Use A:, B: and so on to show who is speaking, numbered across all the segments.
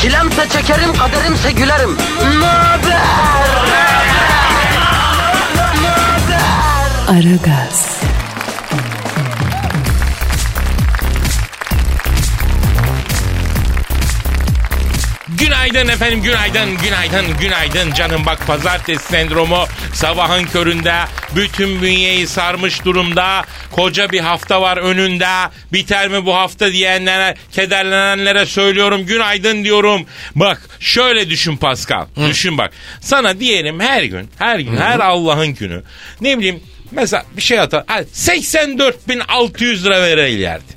A: Çilemse çekerim, kaderimse gülerim. Möber!
B: Aragaz,
C: Günaydın efendim, günaydın, günaydın, günaydın. Canım bak pazartesi sendromu sabahın köründe bütün bünyeyi sarmış durumda. Koca bir hafta var önünde. Biter mi bu hafta diyenlere, kederlenenlere söylüyorum günaydın diyorum. Bak şöyle düşün Pascal, düşün bak. Sana diyelim her gün, her gün, her Allah'ın günü. Ne bileyim mesela bir şey atar. Hadi 84.600 lira vereylerdi.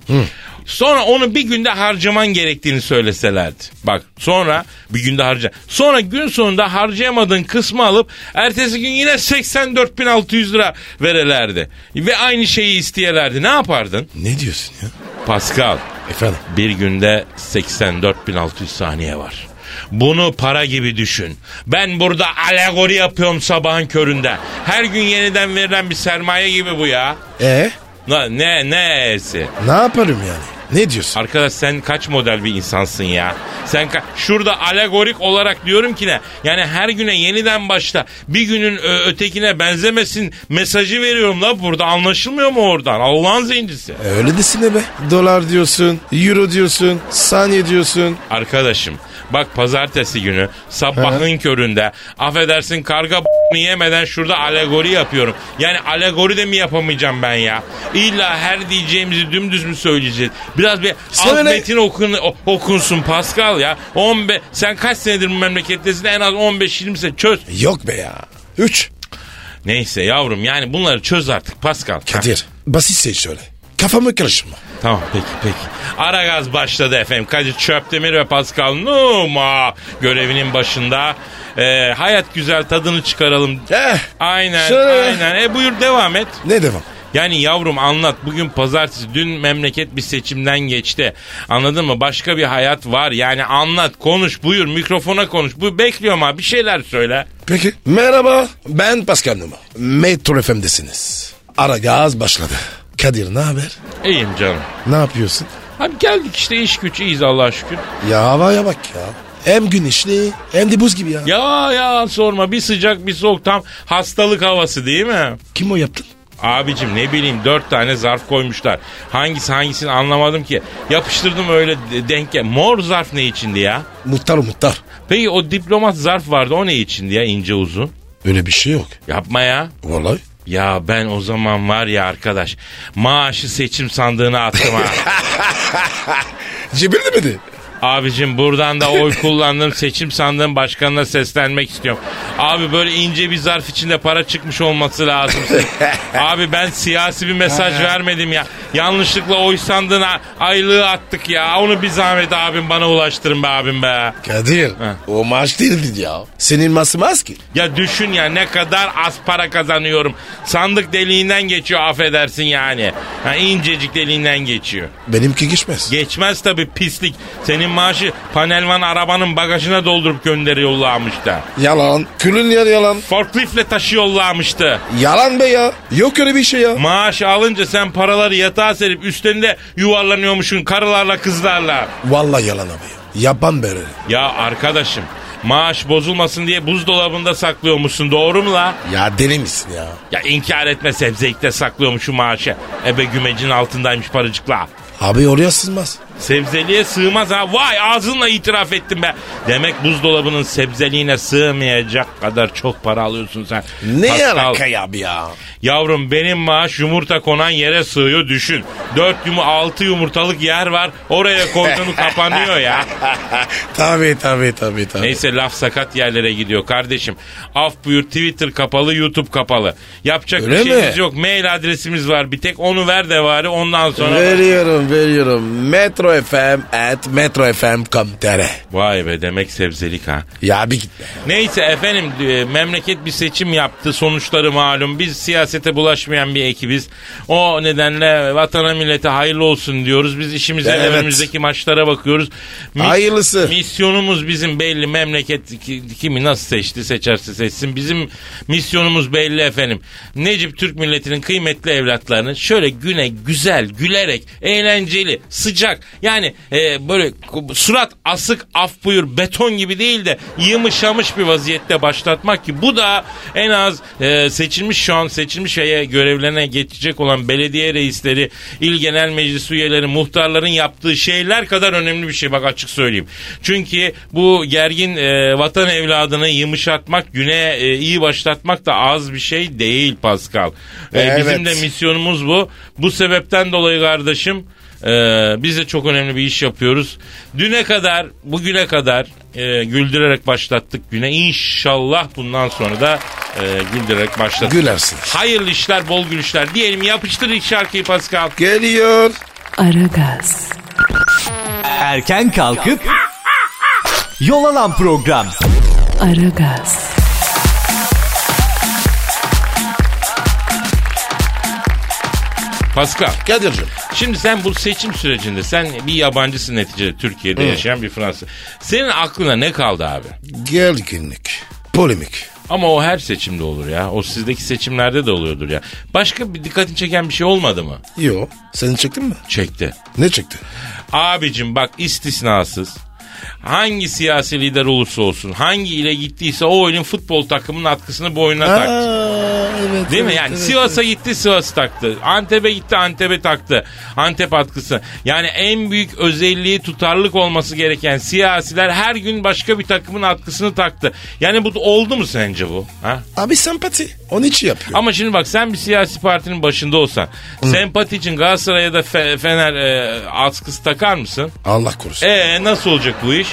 C: Sonra onu bir günde harcaman gerektiğini söyleselerdi. Bak sonra bir günde harca. Sonra gün sonunda harcayamadığın kısmı alıp ertesi gün yine 84.600 lira verelerdi. Ve aynı şeyi isteyelerdi. Ne yapardın?
D: Ne diyorsun ya?
C: Pascal
D: Efendim?
C: bir günde 84.600 saniye var. Bunu para gibi düşün. Ben burada alegori yapıyorum sabahın köründe. Her gün yeniden verilen bir sermaye gibi bu ya.
D: E
C: Na- Ne ne esi?
D: ne yaparım yani? Ne diyorsun?
C: Arkadaş sen kaç model bir insansın ya? Sen ka- şurada alegorik olarak diyorum ki ne? Yani her güne yeniden başla. Bir günün ö- ötekine benzemesin mesajı veriyorum la burada. Anlaşılmıyor mu oradan? Allah'ın zincisi.
D: E, Öyle desene be. Dolar diyorsun, euro diyorsun, saniye diyorsun.
C: Arkadaşım bak pazartesi günü sabahın köründe affedersin karga b***ni yemeden şurada alegori yapıyorum. Yani alegori de mi yapamayacağım ben ya? İlla her diyeceğimizi dümdüz mü söyleyeceğiz? Biraz bir alt
D: Söyle.
C: metin okun, o- okunsun Pascal ya. 15 sen kaç senedir bu memlekettesin en az 15-20 sene çöz.
D: Yok be ya. Üç.
C: Neyse yavrum yani bunları çöz artık Pascal.
D: Kadir. Basit şey şöyle. Kafamı karıştırma.
C: Tamam peki peki. Ara gaz başladı efendim. Kadir Çöptemir ve Pascal Numa görevinin başında. Ee, hayat güzel tadını çıkaralım.
D: Eh,
C: Aynen
D: şöyle.
C: aynen. E buyur devam et.
D: Ne devam?
C: Yani yavrum anlat bugün pazartesi dün memleket bir seçimden geçti. Anladın mı? Başka bir hayat var. Yani anlat konuş buyur mikrofona konuş. Bu bekliyorum ha bir şeyler söyle.
D: Peki. Merhaba. Ben Pascal Numa. Metro FM'desiniz. Ara gaz başladı. Kadir ne haber?
C: İyiyim canım.
D: Ne yapıyorsun?
C: Abi geldik işte iş güç iyiyiz Allah'a şükür.
D: Ya havaya bak ya. Hem güneşli hem de buz gibi ya.
C: Ya ya sorma bir sıcak bir soğuk tam hastalık havası değil mi?
D: Kim o yaptın?
C: Abicim ne bileyim dört tane zarf koymuşlar. Hangisi hangisini anlamadım ki. Yapıştırdım öyle de- denk gel. Mor zarf ne içindi ya?
D: Muhtar o muhtar.
C: Peki o diplomat zarf vardı o ne içindi ya ince uzun?
D: Öyle bir şey yok.
C: Yapma ya.
D: Vallahi.
C: Ya ben o zaman var ya arkadaş maaşı seçim sandığına attım ha.
D: Cebirli miydi?
C: Abicim buradan da oy kullandım seçim sandığım başkanına seslenmek istiyorum. Abi böyle ince bir zarf içinde para çıkmış olması lazım. Abi ben siyasi bir mesaj vermedim ya. Yanlışlıkla oy sandığına aylığı attık ya. Onu bir zahmet abim bana ulaştırın be abim be.
D: Kadir.
C: Ha.
D: O maaş değildi ya. Senin masmaz ki.
C: Ya düşün ya ne kadar az para kazanıyorum. Sandık deliğinden geçiyor affedersin yani. Ha, incecik deliğinden geçiyor.
D: Benimki geçmez.
C: Geçmez tabii pislik. Senin maaşı panelvan arabanın bagajına doldurup gönderiyorlarmış da.
D: yalan. Külün yer yalan.
C: Forkliftle taşıyorlarmıştı.
D: Yalan be ya. Yok öyle bir şey ya.
C: Maaş alınca sen paraları yatağa serip üstlerinde yuvarlanıyormuşsun karılarla kızlarla.
D: Vallahi yalan abi. Yapan böyle.
C: Ya arkadaşım maaş bozulmasın diye buzdolabında saklıyormuşsun doğru mu la?
D: Ya deli misin ya?
C: Ya inkar etme sebzekte saklıyormuşum maaşı. Ebe gümecin altındaymış paracıkla.
D: Abi oraya sızmaz.
C: Sebzeliğe sığmaz ha. Vay ağzınla itiraf ettim be. Demek buzdolabının sebzeliğine sığmayacak kadar çok para alıyorsun sen.
D: Ne
C: Pascal,
D: alaka ya abi ya?
C: Yavrum benim maaş yumurta konan yere sığıyor düşün. Dört yumu altı yumurtalık yer var. Oraya koyduğunu kapanıyor ya.
D: tabii tabii tabii tabii.
C: Neyse laf sakat yerlere gidiyor kardeşim. Af buyur Twitter kapalı YouTube kapalı. Yapacak
D: Öyle
C: bir şeyimiz
D: mi?
C: yok. Mail adresimiz var bir tek onu ver de bari ondan sonra.
D: Veriyorum veriyorum. Metro metrofm.metrofm.com.tr
C: Vay be demek sebzelik ha.
D: Ya bir gitme.
C: Neyse efendim e, memleket bir seçim yaptı. Sonuçları malum. Biz siyasete bulaşmayan bir ekibiz. O nedenle vatana millete hayırlı olsun diyoruz. Biz işimize ve
D: Evet.
C: önümüzdeki maçlara bakıyoruz. Mis-
D: Hayırlısı.
C: Misyonumuz bizim belli. Memleket ki- kimi nasıl seçti seçerse seçsin. Bizim misyonumuz belli efendim. Necip Türk milletinin kıymetli evlatlarını şöyle güne güzel, gülerek, eğlenceli, sıcak yani e, böyle ku- surat asık af buyur beton gibi değil de yımışamış bir vaziyette başlatmak ki bu da en az e, seçilmiş şu an seçilmiş şeye görevlerine geçecek olan belediye reisleri, il genel meclis üyeleri, muhtarların yaptığı şeyler kadar önemli bir şey bak açık söyleyeyim. Çünkü bu gergin e, vatan evladını yumuşatmak, güne e, iyi başlatmak da az bir şey değil Pascal. E,
D: Evet.
C: Bizim de misyonumuz bu. Bu sebepten dolayı kardeşim e, biz de çok önemli bir iş yapıyoruz. Düne kadar, bugüne kadar e, güldürerek başlattık güne. İnşallah bundan sonra da e, güldürerek başlatırız.
D: Gülersin.
C: Hayırlı işler, bol gülüşler. Diyelim yapıştır ilk şarkıyı Pascal.
D: Geliyor.
B: Aragaz,
E: Erken kalkıp yol alan program.
B: Aragaz,
C: Pascal.
D: Kadir'cim.
C: Şimdi sen bu seçim sürecinde sen bir yabancısın neticede Türkiye'de yaşayan bir Fransız. Senin aklına ne kaldı abi?
D: Gerginlik. Polemik.
C: Ama o her seçimde olur ya. O sizdeki seçimlerde de oluyordur ya. Başka bir dikkatini çeken bir şey olmadı mı?
D: Yo. Seni çektin mi?
C: Çekti.
D: Ne çekti?
C: Abicim bak istisnasız. Hangi siyasi lider olursa olsun, hangi ile gittiyse o oyunun futbol takımının atkısını boynuna taktı.
D: evet.
C: Değil mi? Yani Sivas'a gitti Sivas taktı. Antep'e gitti Antep'e taktı. Antep atkısı. Yani en büyük özelliği tutarlılık olması gereken siyasiler her gün başka bir takımın atkısını taktı. Yani bu oldu mu sence bu? Ha?
D: Abi sempati. Onun için yapıyor.
C: Ama şimdi bak sen bir siyasi partinin başında olsan sempati için Galatasaray'a da Fe- Fener e, atkısı takar mısın?
D: Allah korusun.
C: E nasıl olacak bu iş?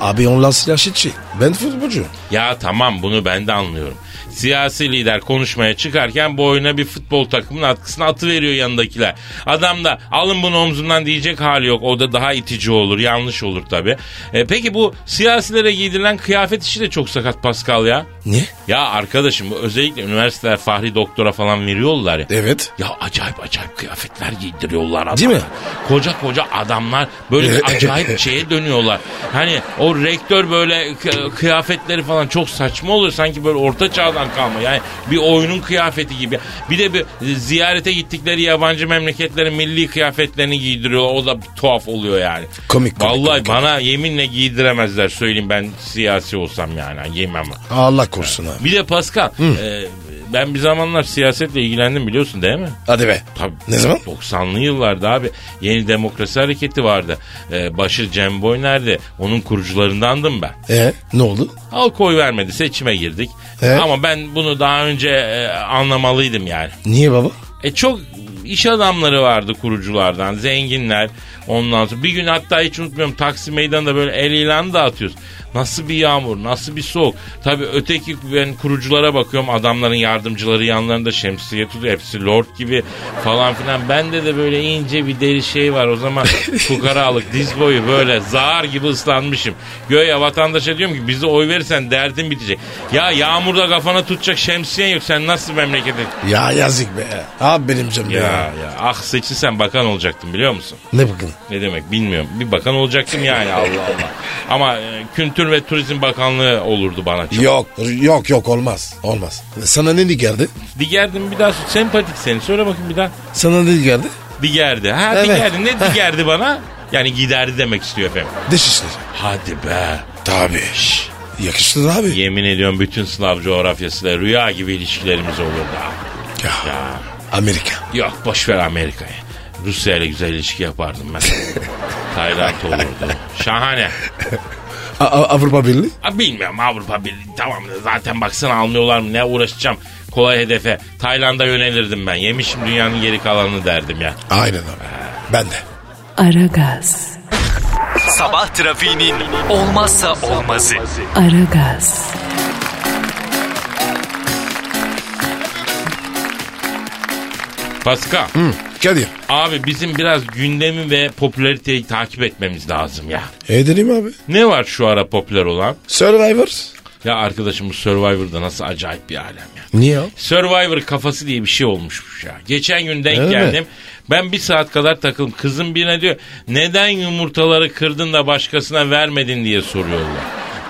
D: A- Abi onlar siyasetçi. Ben futbolcuyum.
C: Ya tamam bunu ben de anlıyorum. Siyasi lider konuşmaya çıkarken bu oyuna bir futbol takımının atkısını atı veriyor yanındakiler. Adam da alın bunu omzumdan diyecek hali yok. O da daha itici olur, yanlış olur tabii. E, peki bu siyasilere giydirilen kıyafet işi de çok sakat Pascal ya.
D: Niye?
C: Ya arkadaşım bu özellikle üniversiteler fahri doktora falan veriyorlar ya.
D: Evet.
C: Ya acayip acayip kıyafetler giydiriyorlar adamlar.
D: Değil mi? Ee,
C: Koca koca adamlar böyle bir acayip şeye dönüyorlar. Hani o rektör böyle kı- kıyafetleri falan çok saçma oluyor. Sanki böyle orta çağdan kalma. Yani bir oyunun kıyafeti gibi. Bir de bir ziyarete gittikleri yabancı memleketlerin milli kıyafetlerini giydiriyorlar. O da bir tuhaf oluyor yani.
D: Komik, komik,
C: Vallahi
D: komik.
C: bana yeminle giydiremezler söyleyeyim ben siyasi olsam yani. Yemem.
D: Allah korusun abi.
C: Bir de Pascal. e, ben bir zamanlar siyasetle ilgilendim biliyorsun değil mi?
D: Hadi be.
C: Tabii.
D: Ne zaman?
C: 90'lı yıllarda abi. Yeni Demokrasi Hareketi vardı. Ee, başı Cem Boyner'di. Onun kurucularındandım ben.
D: E ne oldu?
C: Halk oy vermedi. Seçime girdik.
D: Evet.
C: Ama ben bunu daha önce e, anlamalıydım yani.
D: Niye baba?
C: E çok iş adamları vardı kuruculardan. Zenginler. Ondan sonra bir gün hatta hiç unutmuyorum Taksim Meydanı'nda böyle el ilanı dağıtıyoruz. Nasıl bir yağmur, nasıl bir soğuk. Tabii öteki ben kuruculara bakıyorum adamların yardımcıları yanlarında şemsiye tutuyor. Hepsi lord gibi falan filan. Bende de böyle ince bir deri şey var. O zaman fukaralık diz boyu böyle zar gibi ıslanmışım. Göya vatandaşa diyorum ki bize oy verirsen derdin bitecek. Ya yağmurda kafana tutacak şemsiyen yok. Sen nasıl memlekete
D: Ya yazık be. Abi benim canım
C: ya
D: ya.
C: ya ah seçilsen bakan olacaktım biliyor musun?
D: Ne bakın?
C: Ne demek bilmiyorum. Bir bakan olacaktım yani Allah Allah. Ama e, Kültür ve Turizm Bakanlığı olurdu bana çok.
D: Yok yok yok olmaz. Olmaz. Sana ne geldi?
C: Digerdim bir daha sor- sempatik seni söyle bakayım bir daha.
D: Sana ne geldi?
C: Digerdi. Ha
D: Evet.
C: digerdi ne digerdi bana? Yani giderdi demek istiyor efendim.
D: Dış işleri.
C: Hadi be.
D: Tabii. Şş, Yakıştı abi.
C: Yemin ediyorum bütün Slav coğrafyasıyla rüya gibi ilişkilerimiz olurdu. abi.
D: Ya. Amerika.
C: Yok boşver Amerika'yı. Rusya ile güzel ilişki yapardım ben. Tayland olurdu. Şahane.
D: A- A- Avrupa Birliği.
C: Ha, bilmiyorum Avrupa Birliği tamam zaten baksana anlıyorlar mı ne uğraşacağım kolay hedefe. Tayland'a yönelirdim ben yemişim dünyanın geri kalanını derdim ya.
D: Aynen abi. Ben de.
B: Aragaz,
E: Sabah trafiğinin olmazsa olmazı.
B: Aragaz,
C: Pascal
D: Kadir.
C: Abi bizim biraz gündemi ve popülariteyi takip etmemiz lazım ya.
D: Edelim E, abi.
C: Ne var şu ara popüler olan?
D: Survivor.
C: Ya arkadaşım bu Survivor'da nasıl acayip bir alem ya.
D: Niye o?
C: Survivor kafası diye bir şey olmuşmuş ya. Geçen gün denk
D: Öyle mi?
C: geldim. Ben bir saat kadar takıldım. Kızım birine diyor neden yumurtaları kırdın da başkasına vermedin diye soruyorlar.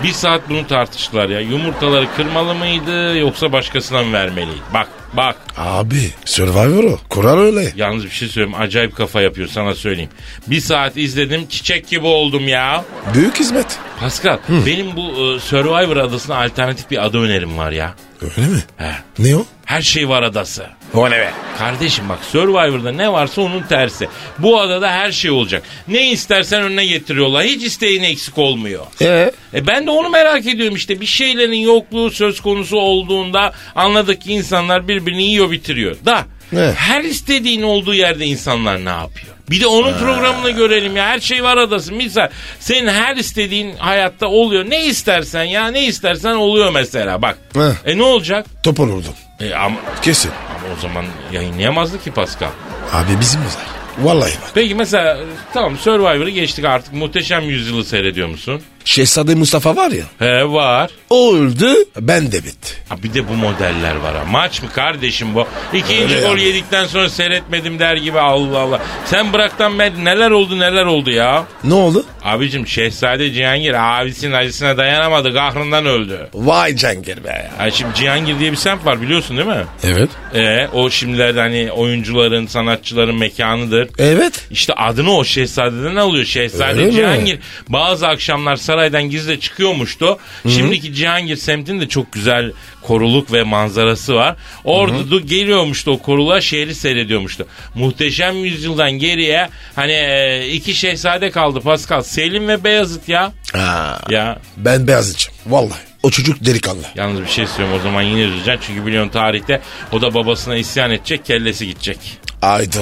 C: Bir saat bunu tartıştılar ya. Yumurtaları kırmalı mıydı yoksa başkasına mı vermeliydi? Bak bak.
D: Abi Survivor o. Kural öyle.
C: Yalnız bir şey söyleyeyim acayip kafa yapıyor sana söyleyeyim. Bir saat izledim çiçek gibi oldum ya.
D: Büyük hizmet.
C: Pascal benim bu e, Survivor adasına alternatif bir ada önerim var ya.
D: Öyle mi?
C: He.
D: Ne o?
C: Her şey var adası.
D: O ne be?
C: Kardeşim bak Survivor'da ne varsa onun tersi. Bu adada her şey olacak. Ne istersen önüne getiriyorlar. Hiç isteğin eksik olmuyor.
D: Ee?
C: E ben de onu merak ediyorum işte. Bir şeylerin yokluğu söz konusu olduğunda anladık ki insanlar birbirini yiyor bitiriyor. Da
D: Evet.
C: her istediğin olduğu yerde insanlar ne yapıyor? Bir de onun programını görelim ya. Her şey var adası. Misal senin her istediğin hayatta oluyor. Ne istersen ya ne istersen oluyor mesela bak.
D: Evet.
C: E ne olacak?
D: Top olurdum.
C: E ama,
D: Kesin.
C: ama o zaman yayınlayamazdı ki Pascal.
D: Abi bizim özel. Vallahi bak.
C: Peki mesela tamam Survivor'ı geçtik artık. Muhteşem Yüzyıl'ı seyrediyor musun?
D: Şehzade Mustafa var ya.
C: He var.
D: O öldü. Ben de bitti.
C: Ha bir de bu modeller var ha. Maç mı kardeşim bu? İkinci
D: Öyle
C: gol
D: yani.
C: yedikten sonra seyretmedim der gibi Allah Allah. Sen bıraktan ben neler oldu neler oldu ya.
D: Ne oldu?
C: Abicim Şehzade Cihangir abisinin acısına dayanamadı kahrından öldü.
D: Vay Cengir be ya.
C: Ha şimdi Cihangir diye bir semt var biliyorsun değil mi?
D: Evet.
C: E o şimdilerde hani oyuncuların, sanatçıların mekanıdır.
D: Evet.
C: İşte adını o şehzadeden alıyor. Şehzade
D: Öyle mi?
C: Cihangir. Bazı akşamlar saraydan gizli çıkıyormuştu. Şimdiki Cihangir semtinin de çok güzel koruluk ve manzarası var. Orada da geliyormuştu o koruluğa şehri seyrediyormuştu. Muhteşem yüzyıldan geriye hani e, iki şehzade kaldı Pascal. Selim ve Beyazıt ya.
D: Aa,
C: Ya
D: ben Beyazıt'cım. Vallahi. O çocuk delikanlı.
C: yalnız bir şey söylüyorum o zaman yine üzüleceksin. Çünkü biliyorsun tarihte o da babasına isyan edecek kellesi gidecek.
D: Ayda.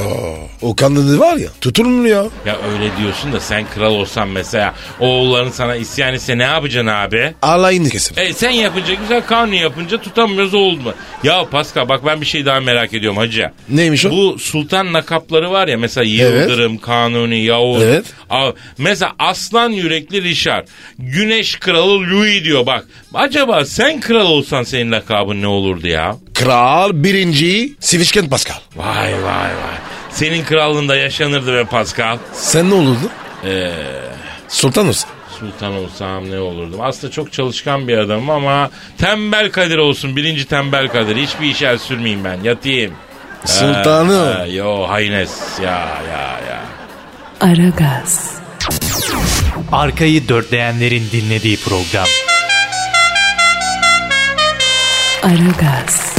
D: O kanlı var ya. Tutulmuyor.
C: Ya öyle diyorsun da sen kral olsan mesela oğulların sana isyan etse ne yapacaksın abi?
D: Alayını kesin.
C: E sen yapınca güzel kanuni yapınca tutamıyoruz oldu mu? Ya Pascal bak ben bir şey daha merak ediyorum hacı.
D: Neymiş o?
C: Bu sultan nakapları var ya mesela Yıldırım, Kanuni, Yavuz.
D: Evet.
C: Aa, mesela aslan yürekli Richard, güneş kralı Louis diyor bak. Acaba sen kral olsan senin lakabın ne olurdu ya?
D: Kral birinci Sivişken Pascal.
C: Vay vay vay. Senin krallığında yaşanırdı be Pascal.
D: Sen ne olurdun?
C: Ee.
D: Sultan olsun.
C: Sultan olsam ne olurdum? Aslında çok çalışkan bir adamım ama tembel Kadir olsun. Birinci tembel Kadir. Hiçbir işe el sürmeyeyim ben. Yatayım.
D: Sultanım.
C: Ee, yo haynes. Ya ya ya.
B: Aragaz,
E: Arkayı dörtleyenlerin dinlediği program.
B: Aragaz,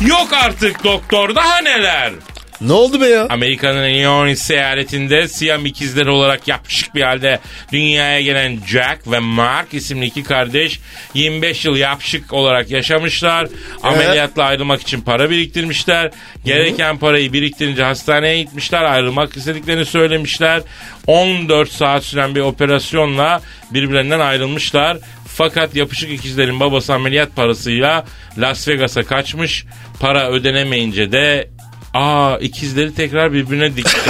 C: Yok artık doktor daha neler?
D: Ne oldu be ya?
C: Amerika'nın Illinois seyaretinde Siyam ikizleri olarak yapışık bir halde dünyaya gelen Jack ve Mark isimli iki kardeş 25 yıl yapışık olarak yaşamışlar. Ameliyatla ayrılmak için para biriktirmişler. Gereken parayı biriktirince hastaneye gitmişler. Ayrılmak istediklerini söylemişler. 14 saat süren bir operasyonla birbirlerinden ayrılmışlar. Fakat yapışık ikizlerin babası ameliyat parasıyla Las Vegas'a kaçmış. Para ödenemeyince de Aa ikizleri tekrar birbirine dikti.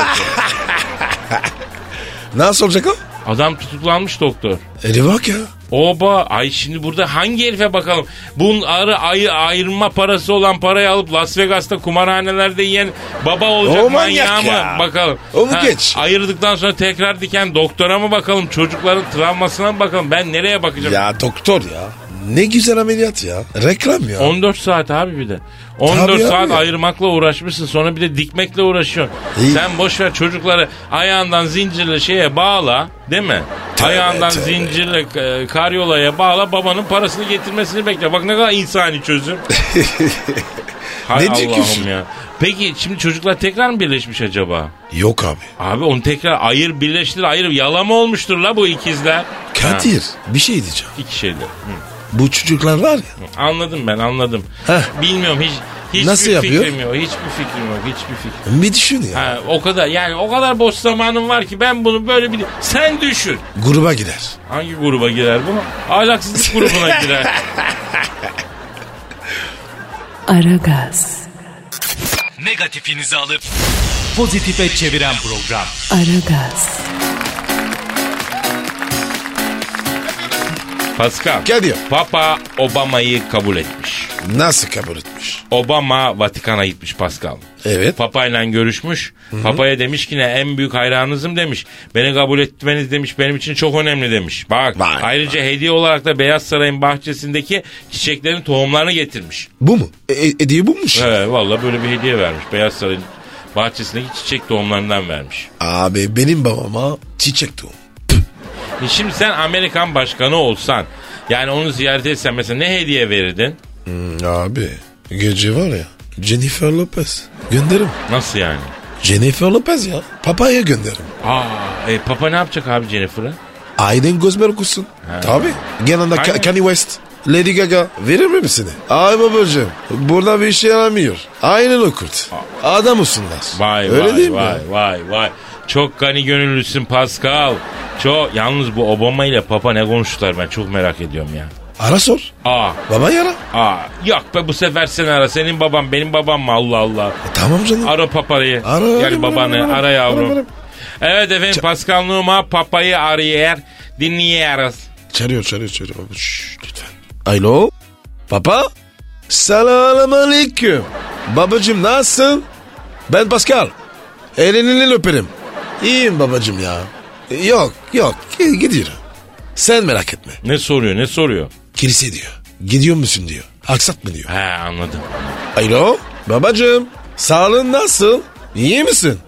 D: Nasıl olacak o?
C: Adam tutuklanmış doktor.
D: Eli bak ya.
C: Oba ay şimdi burada hangi herife bakalım? Bunun arı ayı ayırma parası olan parayı alıp Las Vegas'ta kumarhanelerde yiyen baba olacak
D: O manyak
C: manyağı
D: ya.
C: mı? Bakalım.
D: Onu geç.
C: Ayırdıktan sonra tekrar diken doktora mı bakalım? Çocukların travmasına mı bakalım? Ben nereye bakacağım?
D: Ya doktor ya. Ne güzel ameliyat ya. Reklam ya.
C: 14 saat abi bir de. 14
D: Tabii
C: saat
D: abi.
C: ayırmakla uğraşmışsın sonra bir de dikmekle uğraşıyorsun.
D: İyi.
C: Sen boş ver çocukları ayağından zincirle şeye bağla değil mi?
D: Tövbe,
C: ayağından
D: tövbe.
C: zincirle e, karyolaya bağla babanın parasını getirmesini bekle. Bak ne kadar insani çözüm. Hay
D: Ne diyorsun?
C: Allah'ım ya. Peki şimdi çocuklar tekrar mı birleşmiş acaba?
D: Yok abi.
C: Abi onu tekrar ayır birleştir ayır yalama olmuştur la bu ikizler. Ha,
D: Kadir bir şey diyeceğim.
C: iki şeydir.
D: Bu çocuklar var ya.
C: Anladım ben anladım.
D: Heh.
C: Bilmiyorum hiç hiçbir
D: Nasıl yapıyor?
C: fikrim yok. Hiçbir fikrim yok. Hiçbir fikrim.
D: Bir düşün ya.
C: Ha, o kadar yani o kadar boş zamanım var ki ben bunu böyle bir sen düşün.
D: Gruba gider.
C: Hangi gruba girer bu? Ahlaksızlık grubuna girer.
B: Aragaz,
E: Negatifinizi alıp pozitife çeviren program.
B: Aragaz,
C: Pascal.
D: Kadir.
C: Papa Obama'yı kabul etmiş.
D: Nasıl kabul etmiş?
C: Obama Vatikan'a gitmiş Pascal.
D: Evet.
C: Papa'yla görüşmüş. Papa'ya demiş ki ne en büyük hayranınızım demiş. Beni kabul etmeniz demiş benim için çok önemli demiş. Bak
D: Vay,
C: ayrıca hediye olarak da Beyaz Saray'ın bahçesindeki çiçeklerin tohumlarını getirmiş.
D: Bu mu? E, e, hediye buymuş.
C: He, vallahi böyle bir hediye vermiş. Beyaz Saray'ın bahçesindeki çiçek tohumlarından vermiş.
D: Abi benim babama çiçek tohum.
C: E şimdi sen Amerikan başkanı olsan yani onu ziyaret etsen mesela ne hediye verirdin?
D: Abi gece var ya Jennifer Lopez. Gönderim.
C: Nasıl yani?
D: Jennifer Lopez ya. Papaya gönderim.
C: Aa, e, Papa ne yapacak abi Jennifer'ı?
D: Aydın Gözber okusun. Tabii. Yanında Ka-
C: Aynen.
D: Kanye West. Lady Gaga verir mi misini? Ay babacığım burada bir işe yaramıyor. Aynen okurt. Adam olsunlar.
C: Vay
D: Öyle
C: vay
D: değil mi?
C: vay vay vay. Çok gani gönüllüsün Pascal. Çok yalnız bu Obama ile Papa ne konuştular ben çok merak ediyorum ya.
D: Ara sor.
C: Aa
D: Baba yara.
C: aa yok be bu sefer sen ara senin babam benim babam mı Allah Allah.
D: E, tamam canım.
C: Ara papayı.
D: Ara,
C: yani
D: ara,
C: babanı
D: ara,
C: ara,
D: ara,
C: yavrum.
D: ara, ara.
C: Evet efendim Pascal Numa papayı arıyor dinliyoruz.
D: Çağırıyor çağırıyor çağırıyor. Şşş, lütfen. Alo. Papa. Selam aleyküm. Babacım nasılsın? Ben Pascal. Elini öperim. İyiyim babacım ya. E, Yok yok gi- gidiyorum. Sen merak etme.
C: Ne soruyor ne soruyor?
D: Kilise diyor. Gidiyor musun diyor. Aksatma diyor.
C: He anladım.
D: Alo babacığım sağlığın nasıl? İyi misin?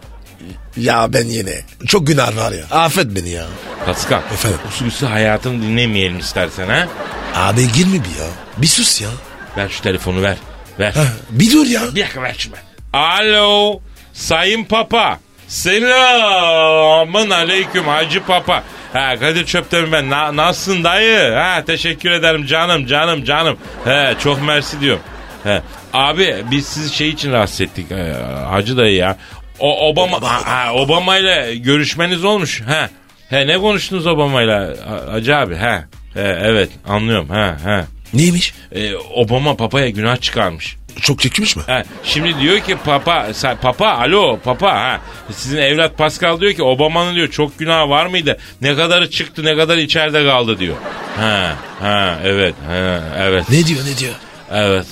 D: Ya ben yine. Çok günah var ya. Affet beni ya.
C: Pascal.
D: Efendim?
C: Usulüsü hayatını dinlemeyelim istersen ha.
D: Abi girme bir ya. Bir sus ya.
C: Ver şu telefonu ver. Ver.
D: Heh, bir dur ya.
C: Bir dakika ver şunu. Alo Sayın Papa. Selamın aleyküm Hacı Papa. Ha Kadir Çöptemir ben. Na, nasılsın dayı? Ha teşekkür ederim canım canım canım. He çok mersi diyorum. He. Abi biz sizi şey için rahatsız ettik e, Hacı dayı ya. O Obama ha, Obama ile görüşmeniz olmuş. Ha. He ne konuştunuz Obama ile Hacı abi? Ha. He, evet anlıyorum. Ha ha.
D: Neymiş?
C: E, Obama papaya günah çıkarmış.
D: Çok çekmiş mi?
C: Ha, şimdi diyor ki papa, sen- papa alo papa ha. Sizin evlat Pascal diyor ki Obama'nın diyor çok günahı var mıydı? Ne kadarı çıktı ne kadar içeride kaldı diyor. Ha ha evet ha evet
D: Ne diyor ne diyor?
C: evet.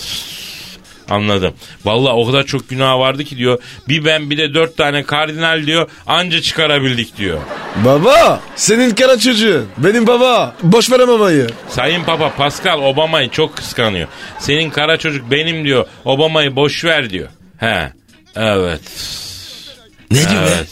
C: Anladım. Vallahi o kadar çok günah vardı ki diyor. Bir ben bir de dört tane kardinal diyor. Anca çıkarabildik diyor.
D: Baba senin kara çocuğun. Benim baba. Boş ver babayı.
C: Sayın Papa Pascal Obama'yı çok kıskanıyor. Senin kara çocuk benim diyor. Obama'yı boş ver diyor. He. Evet.
D: Ne diyor
C: Evet.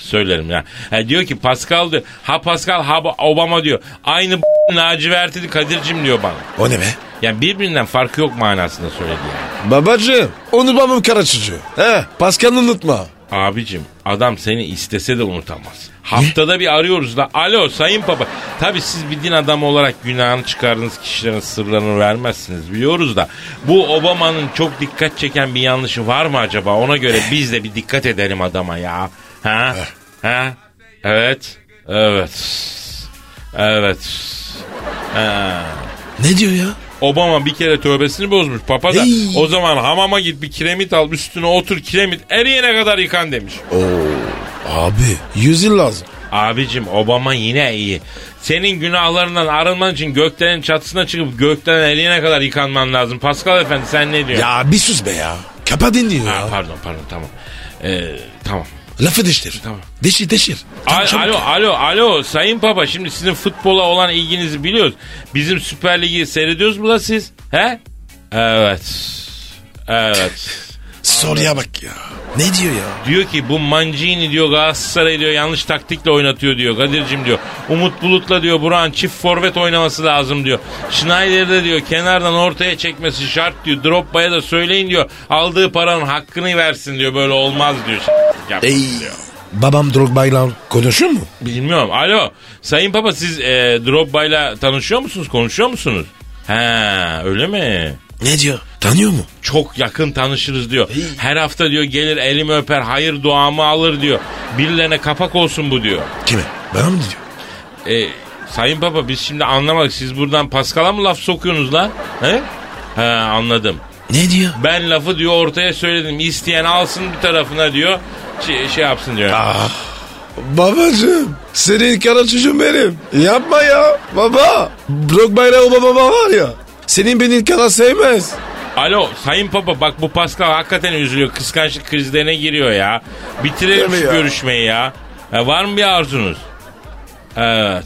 C: Söylerim ya. Ha, diyor ki Pascal diyor. Ha Pascal ha Ob- Obama diyor. Aynı b- lacivertli Kadir'cim diyor bana.
D: O ne be?
C: Yani birbirinden farkı yok manasında söyledi yani.
D: Babacığım unutmamam kara çocuğu. He Paskal'ı unutma.
C: Abicim adam seni istese de unutamaz. Haftada bir arıyoruz da alo sayın baba. Tabi siz bir din adamı olarak günahını çıkardığınız kişilerin sırlarını vermezsiniz biliyoruz da. Bu Obama'nın çok dikkat çeken bir yanlışı var mı acaba? Ona göre biz de bir dikkat edelim adama ya. Ha? Ha? Evet. Evet. Evet. Ha.
D: Ne diyor ya?
C: Obama bir kere tövbesini bozmuş. Papa da
D: Ey.
C: o zaman hamama git bir kiremit al üstüne otur kiremit eriyene kadar yıkan demiş.
D: Abi yüz yıl lazım.
C: Abicim Obama yine iyi. Senin günahlarından arınman için göklerin çatısına çıkıp gökten eriyene kadar yıkanman lazım. Pascal efendi sen ne diyorsun?
D: Ya bir sus be ya. Kapa dinliyor
C: Ha,
D: ya.
C: pardon pardon tamam. Ee, tamam.
D: Lafı deştir.
C: Tamam.
D: Deşir deşir.
C: Al-
D: Çabuk,
C: alo
D: çabuk.
C: alo alo sayın papa şimdi sizin futbola olan ilginizi biliyoruz. Bizim Süper Lig'i seyrediyoruz mu da siz? He? Evet. Evet.
D: Soruya bak ya. Ne diyor ya?
C: Diyor ki bu Mancini diyor Galatasaray diyor yanlış taktikle oynatıyor diyor. Kadir'cim diyor. Umut Bulut'la diyor Burak'ın çift forvet oynaması lazım diyor. Schneider'de diyor kenardan ortaya çekmesi şart diyor. Drogba'ya da söyleyin diyor. Aldığı paranın hakkını versin diyor. Böyle olmaz diyor. Yap-
D: Ey. Babam Drogba'yla konuşuyor mu?
C: Bilmiyorum. Alo. Sayın Papa siz e, Drogba'yla tanışıyor musunuz? Konuşuyor musunuz? Ha öyle mi?
D: Ne diyor? Tanıyor mu?
C: çok yakın tanışırız diyor. Her hafta diyor gelir elimi öper hayır duamı alır diyor. Birilerine kapak olsun bu diyor.
D: Kime? Bana mı diyor?
C: E, sayın Papa biz şimdi anlamadık siz buradan Paskal'a mı laf sokuyorsunuz lan? He? He anladım.
D: Ne diyor?
C: Ben lafı diyor ortaya söyledim. İsteyen alsın bir tarafına diyor. Şey, şey yapsın diyor.
D: Babacım senin kara çocuğun benim. Yapma ya baba. Blok bayrağı baba baba var ya. Senin benim kara sevmez.
C: Alo Sayın Papa bak bu Pascal hakikaten üzülüyor. Kıskançlık krizlerine giriyor ya. Bitirelim
D: Değil mi
C: şu
D: ya?
C: görüşmeyi ya. Ha, var mı bir arzunuz? Evet.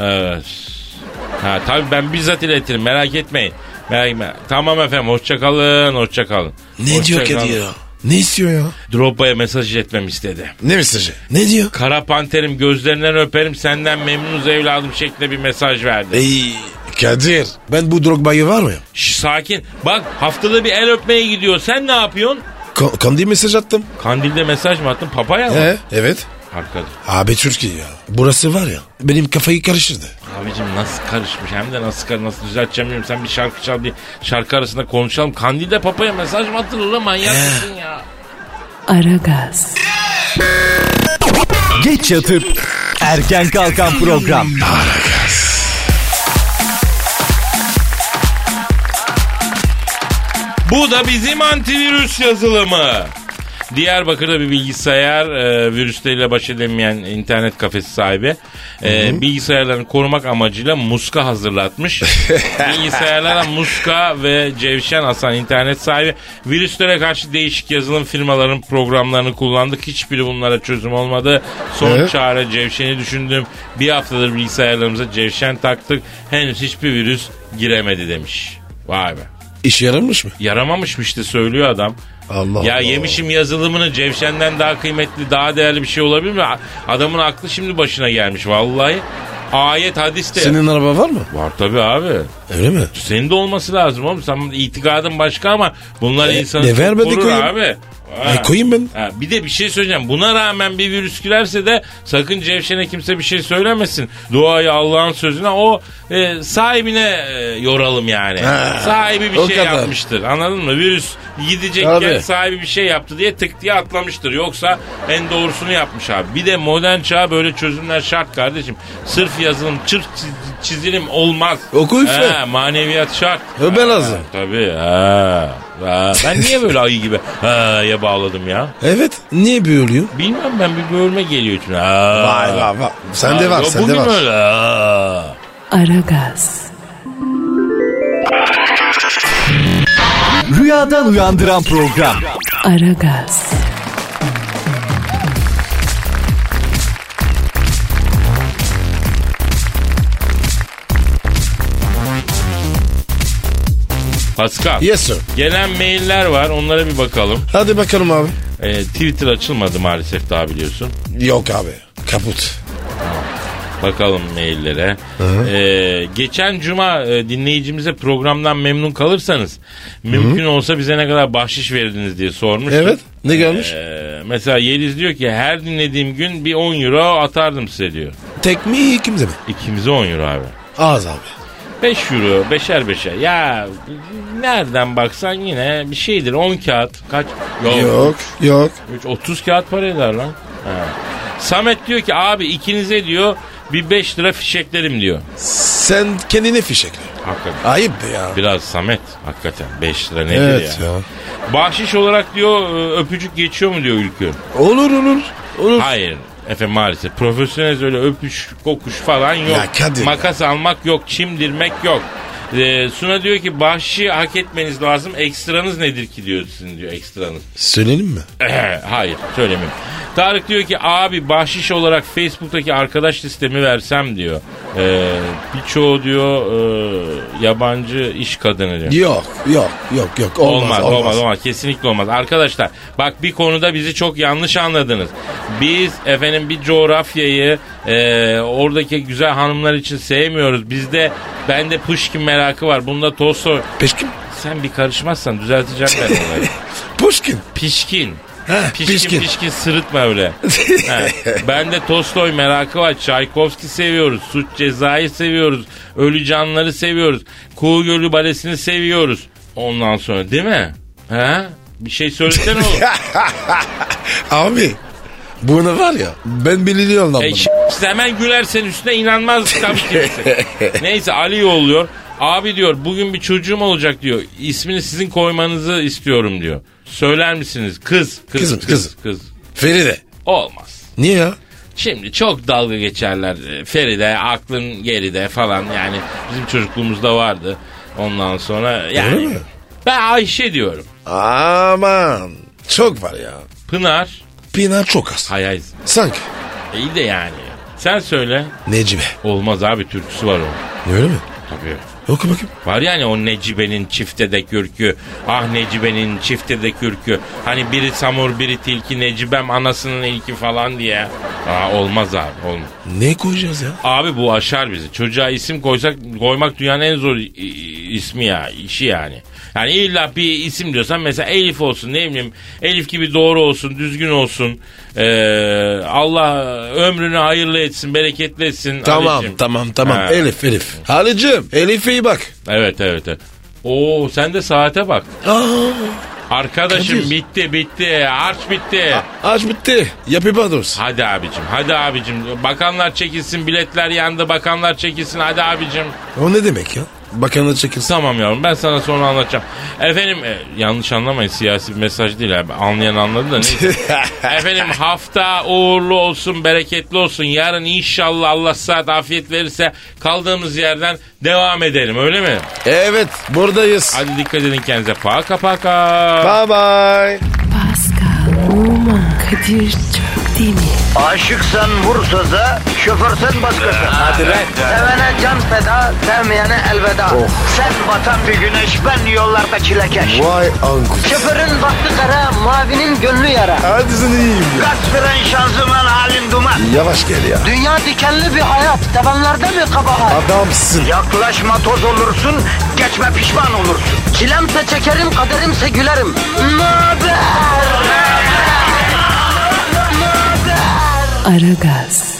C: Evet. Ha, tabii ben bizzat iletirim merak etmeyin. Merak etme. Tamam efendim hoşçakalın hoşçakalın.
D: Ne diyor
C: Hoşça kalın.
D: Kadir ya? Ne istiyor ya?
C: Drogba'ya mesaj etmem istedi.
D: Ne mesajı? Ne diyor?
C: Kara panterim gözlerinden öperim senden memnunuz evladım şeklinde bir mesaj verdi.
D: Ey Kadir ben bu Drogba'yı var mı? ya?
C: Şş, sakin. Bak haftada bir el öpmeye gidiyor. Sen ne yapıyorsun?
D: Ko- Kandil mesaj attım.
C: Kandilde mesaj mı attın? Papaya mı?
D: He, evet.
C: Arkadaş.
D: Abi Türkiye ya. Burası var ya benim kafayı karıştırdı.
C: Abicim nasıl karışmış hem de nasıl kar nasıl düzelteceğim bilmiyorum. Sen bir şarkı çal bir şarkı arasında konuşalım. Kandilde papaya mesaj mı atılır lan manyak mısın ya?
B: Aragaz,
E: Geç yatıp erken kalkan program.
C: Bu da bizim antivirüs yazılımı. Diyarbakır'da bir bilgisayar e, virüsleriyle baş edemeyen internet kafesi sahibi e, bilgisayarlarını korumak amacıyla muska hazırlatmış. Bilgisayarlara muska ve Cevşen Hasan internet sahibi virüslere karşı değişik yazılım firmaların programlarını kullandık. Hiçbiri bunlara çözüm olmadı. Son
D: Evet.
C: çare Cevşen'i düşündüm. Bir haftadır bilgisayarlarımıza Cevşen taktık. Henüz hiçbir virüs giremedi demiş. Vay be.
D: İşe yaramış mı?
C: Yaramamışmış işte söylüyor adam.
D: Allah
C: ya
D: Allah.
C: yemişim yazılımını cevşenden daha kıymetli, daha değerli bir şey olabilir mi? Adamın aklı şimdi başına gelmiş vallahi. Ayet hadiste.
D: Senin araba var mı?
C: Var tabii abi.
D: Öyle mi?
C: Senin de olması lazım oğlum. Sen itikadın başka ama bunlar
D: E,
C: insanı
D: ne
C: çok
D: vermedi
C: korur
D: koyayım?
C: abi.
D: E, koyayım ben.
C: Ha, bir de bir şey söyleyeceğim. Buna rağmen bir virüs girerse de sakın Cevşen'e kimse bir şey söylemesin. Duayı Allah'ın sözüne o e, sahibine e, yoralım yani.
D: Ha,
C: Sahibi bir
D: o
C: şey
D: kadar.
C: yapmıştır. Anladın mı? Virüs gidecekken
D: Tabii.
C: sahibi bir şey yaptı diye tık diye atlamıştır. Yoksa en doğrusunu yapmış abi. Bir de modern çağ böyle çözümler şart kardeşim. Sırf yazılım, çırp çiz- çizilim olmaz.
D: Oku üfle.
C: Ha, maneviyat şart.
D: Öbe
C: Ha,
D: lazım.
C: Tabii. Ha, ha. Ben niye böyle ayı gibi ha, ya bağladım ya?
D: Evet. Niye büyülüyor?
C: Bilmem ben bir bölme geliyor için. Ha.
D: vay.
C: Ha, ya bugün öyle. Ha.
B: Aragaz,
E: Rüyadan uyandıran program.
B: Aragaz,
C: Pascal.
D: Yes sir.
C: Gelen mailler var onlara bir bakalım.
D: Hadi bakalım abi.
C: Ee, Twitter açılmadı maalesef daha biliyorsun.
D: Yok abi. Kaput.
C: Bakalım maillere. Ee, geçen cuma e, dinleyicimize programdan memnun kalırsanız mümkün olsa bize ne kadar bahşiş verdiniz diye sormuş.
D: Evet. Ne gelmiş?
C: Ee, mesela Yeliz diyor ki her dinlediğim gün bir 10 euro atardım size diyor.
D: Tek mi kimse mi?
C: İkimize 10 euro abi.
D: Az abi.
C: 5 euro beşer beşer. Ya nereden baksan yine bir şeydir 10 kağıt. Kaç?
D: Yok. Yok.
C: Üç, 30 kağıt para eder lan. He. Samet diyor ki abi ikinize diyor bir 5 lira fişeklerim diyor.
D: Sen kendini fişekle.
C: Hakikaten.
D: Ayıp be ya.
C: Biraz Samet hakikaten 5 lira nedir
D: Evet ya.
C: ya. Bahşiş olarak diyor e, öpücük geçiyor mu diyor Ülkü.
D: Olur olur. Olur.
C: Hayır. Efendim maalesef profesyonel öyle öpüş kokuş falan yok.
D: Ya Kadir
C: Makas almak yok, çimdirmek yok. Ee, Suna diyor ki bahşişi hak etmeniz lazım. Ekstranız nedir ki diyor sizin diyor ekstranız.
D: Söyleyelim mi?
C: Hayır söylemiyorum. Tarık diyor ki abi bahşiş olarak Facebook'taki arkadaş listemi versem diyor. Ee, birçoğu diyor e, yabancı iş kadını diyor.
D: Yok. Yok. Yok. Yok.
C: Olmaz, olmaz, olmaz, Kesinlikle olmaz. Arkadaşlar bak bir konuda bizi çok yanlış anladınız. Biz efendim bir coğrafyayı e, oradaki güzel hanımlar için sevmiyoruz. Bizde bende Pushkin merakı var. Bunda Tolstoy.
D: Pişkin.
C: Sen bir karışmazsan düzeltecekler onları.
D: Pushkin.
C: Pişkin.
D: Heh,
C: pişkin, pişkin
D: pişkin.
C: sırıtma öyle. He. Ben de Tolstoy merakı var. Çaykovski seviyoruz. Suç cezayı seviyoruz. Ölü canları seviyoruz. Kuğu Gölü Balesi'ni seviyoruz. Ondan sonra değil mi? He? Bir şey söylesene oğlum.
D: Abi. Bunu var ya. Ben biliyorum lan
C: E,
D: bunu.
C: ş- işte hemen gülersen üstüne inanmaz tabii kimse. Neyse Ali yolluyor. Abi diyor bugün bir çocuğum olacak diyor. İsmini sizin koymanızı istiyorum diyor. Söyler misiniz? Kız. Kız.
D: Kızım,
C: Kız.
D: kızım.
C: kız.
D: Feride.
C: Olmaz.
D: Niye ya?
C: Şimdi çok dalga geçerler. Ee, Feride aklın geride falan yani bizim çocukluğumuzda vardı. Ondan sonra
D: Öyle
C: yani
D: mi?
C: ben Ayşe diyorum.
D: Aman. Çok var ya.
C: Pınar.
D: Pinar çok az.
C: Hay hay.
D: Sanki.
C: İyi de yani. Sen söyle.
D: Necibe.
C: Olmaz abi türküsü var onun.
D: Öyle mi?
C: Tabii.
D: Oku bakayım.
C: Var yani o Necibe'nin çifte de kürkü. Ah Necibe'nin çifte de kürkü. Hani biri samur biri tilki Necibem anasının ilki falan diye. Aa, olmaz abi olmaz.
D: Ne koyacağız ya?
C: Abi bu aşar bizi. Çocuğa isim koysak koymak dünyanın en zor i- i- ismi ya, işi yani. Yani illa bir isim diyorsan mesela Elif olsun ne bileyim Elif gibi doğru olsun, düzgün olsun. Ee, Allah ömrünü hayırlı etsin, bereketli etsin.
D: Tamam
C: Halicim.
D: tamam tamam.
C: Ha,
D: Elif Elif. Halicim Elif'e iyi bak.
C: Evet evet evet. Oo sen de saate bak.
D: Aa,
C: Arkadaşım
D: Kadir. Ah.
C: bitti bitti. Harç bitti.
D: aç bitti. Yapı Bados.
C: Hadi abicim hadi abicim. Bakanlar çekilsin biletler yandı. Bakanlar çekilsin hadi abicim.
D: O ne demek ya? Bakanı çekilsin.
C: Tamam yavrum ben sana sonra anlatacağım. Efendim e, yanlış anlamayın siyasi bir mesaj değil abi. Anlayan anladı da neyse. Efendim hafta uğurlu olsun, bereketli olsun. Yarın inşallah Allah saat afiyet verirse kaldığımız yerden devam edelim öyle mi?
D: evet buradayız.
C: Hadi dikkat edin kendinize. Paka paka.
D: Bye bye.
B: Pascal, Oman, Kadir çok değil mi?
A: Aşıksan vursa da, şoförsen başkasın. Hadi
D: lan.
A: Sevene can feda, sevmeyene elveda. Sen batan bir güneş, ben yollarda çilekeş.
D: Vay anku.
A: Şoförün baktı kara, mavinin gönlü yara.
D: Hadi sen iyiyim ya.
A: Kasperen şanzıman halin duman.
D: Yavaş gel ya.
A: Dünya dikenli bir hayat, sevenlerde mi kabahar?
D: Adamsın.
A: Yaklaşma toz olursun, geçme pişman olursun. Çilemse çekerim, kaderimse gülerim. Möber!
B: Aragaz.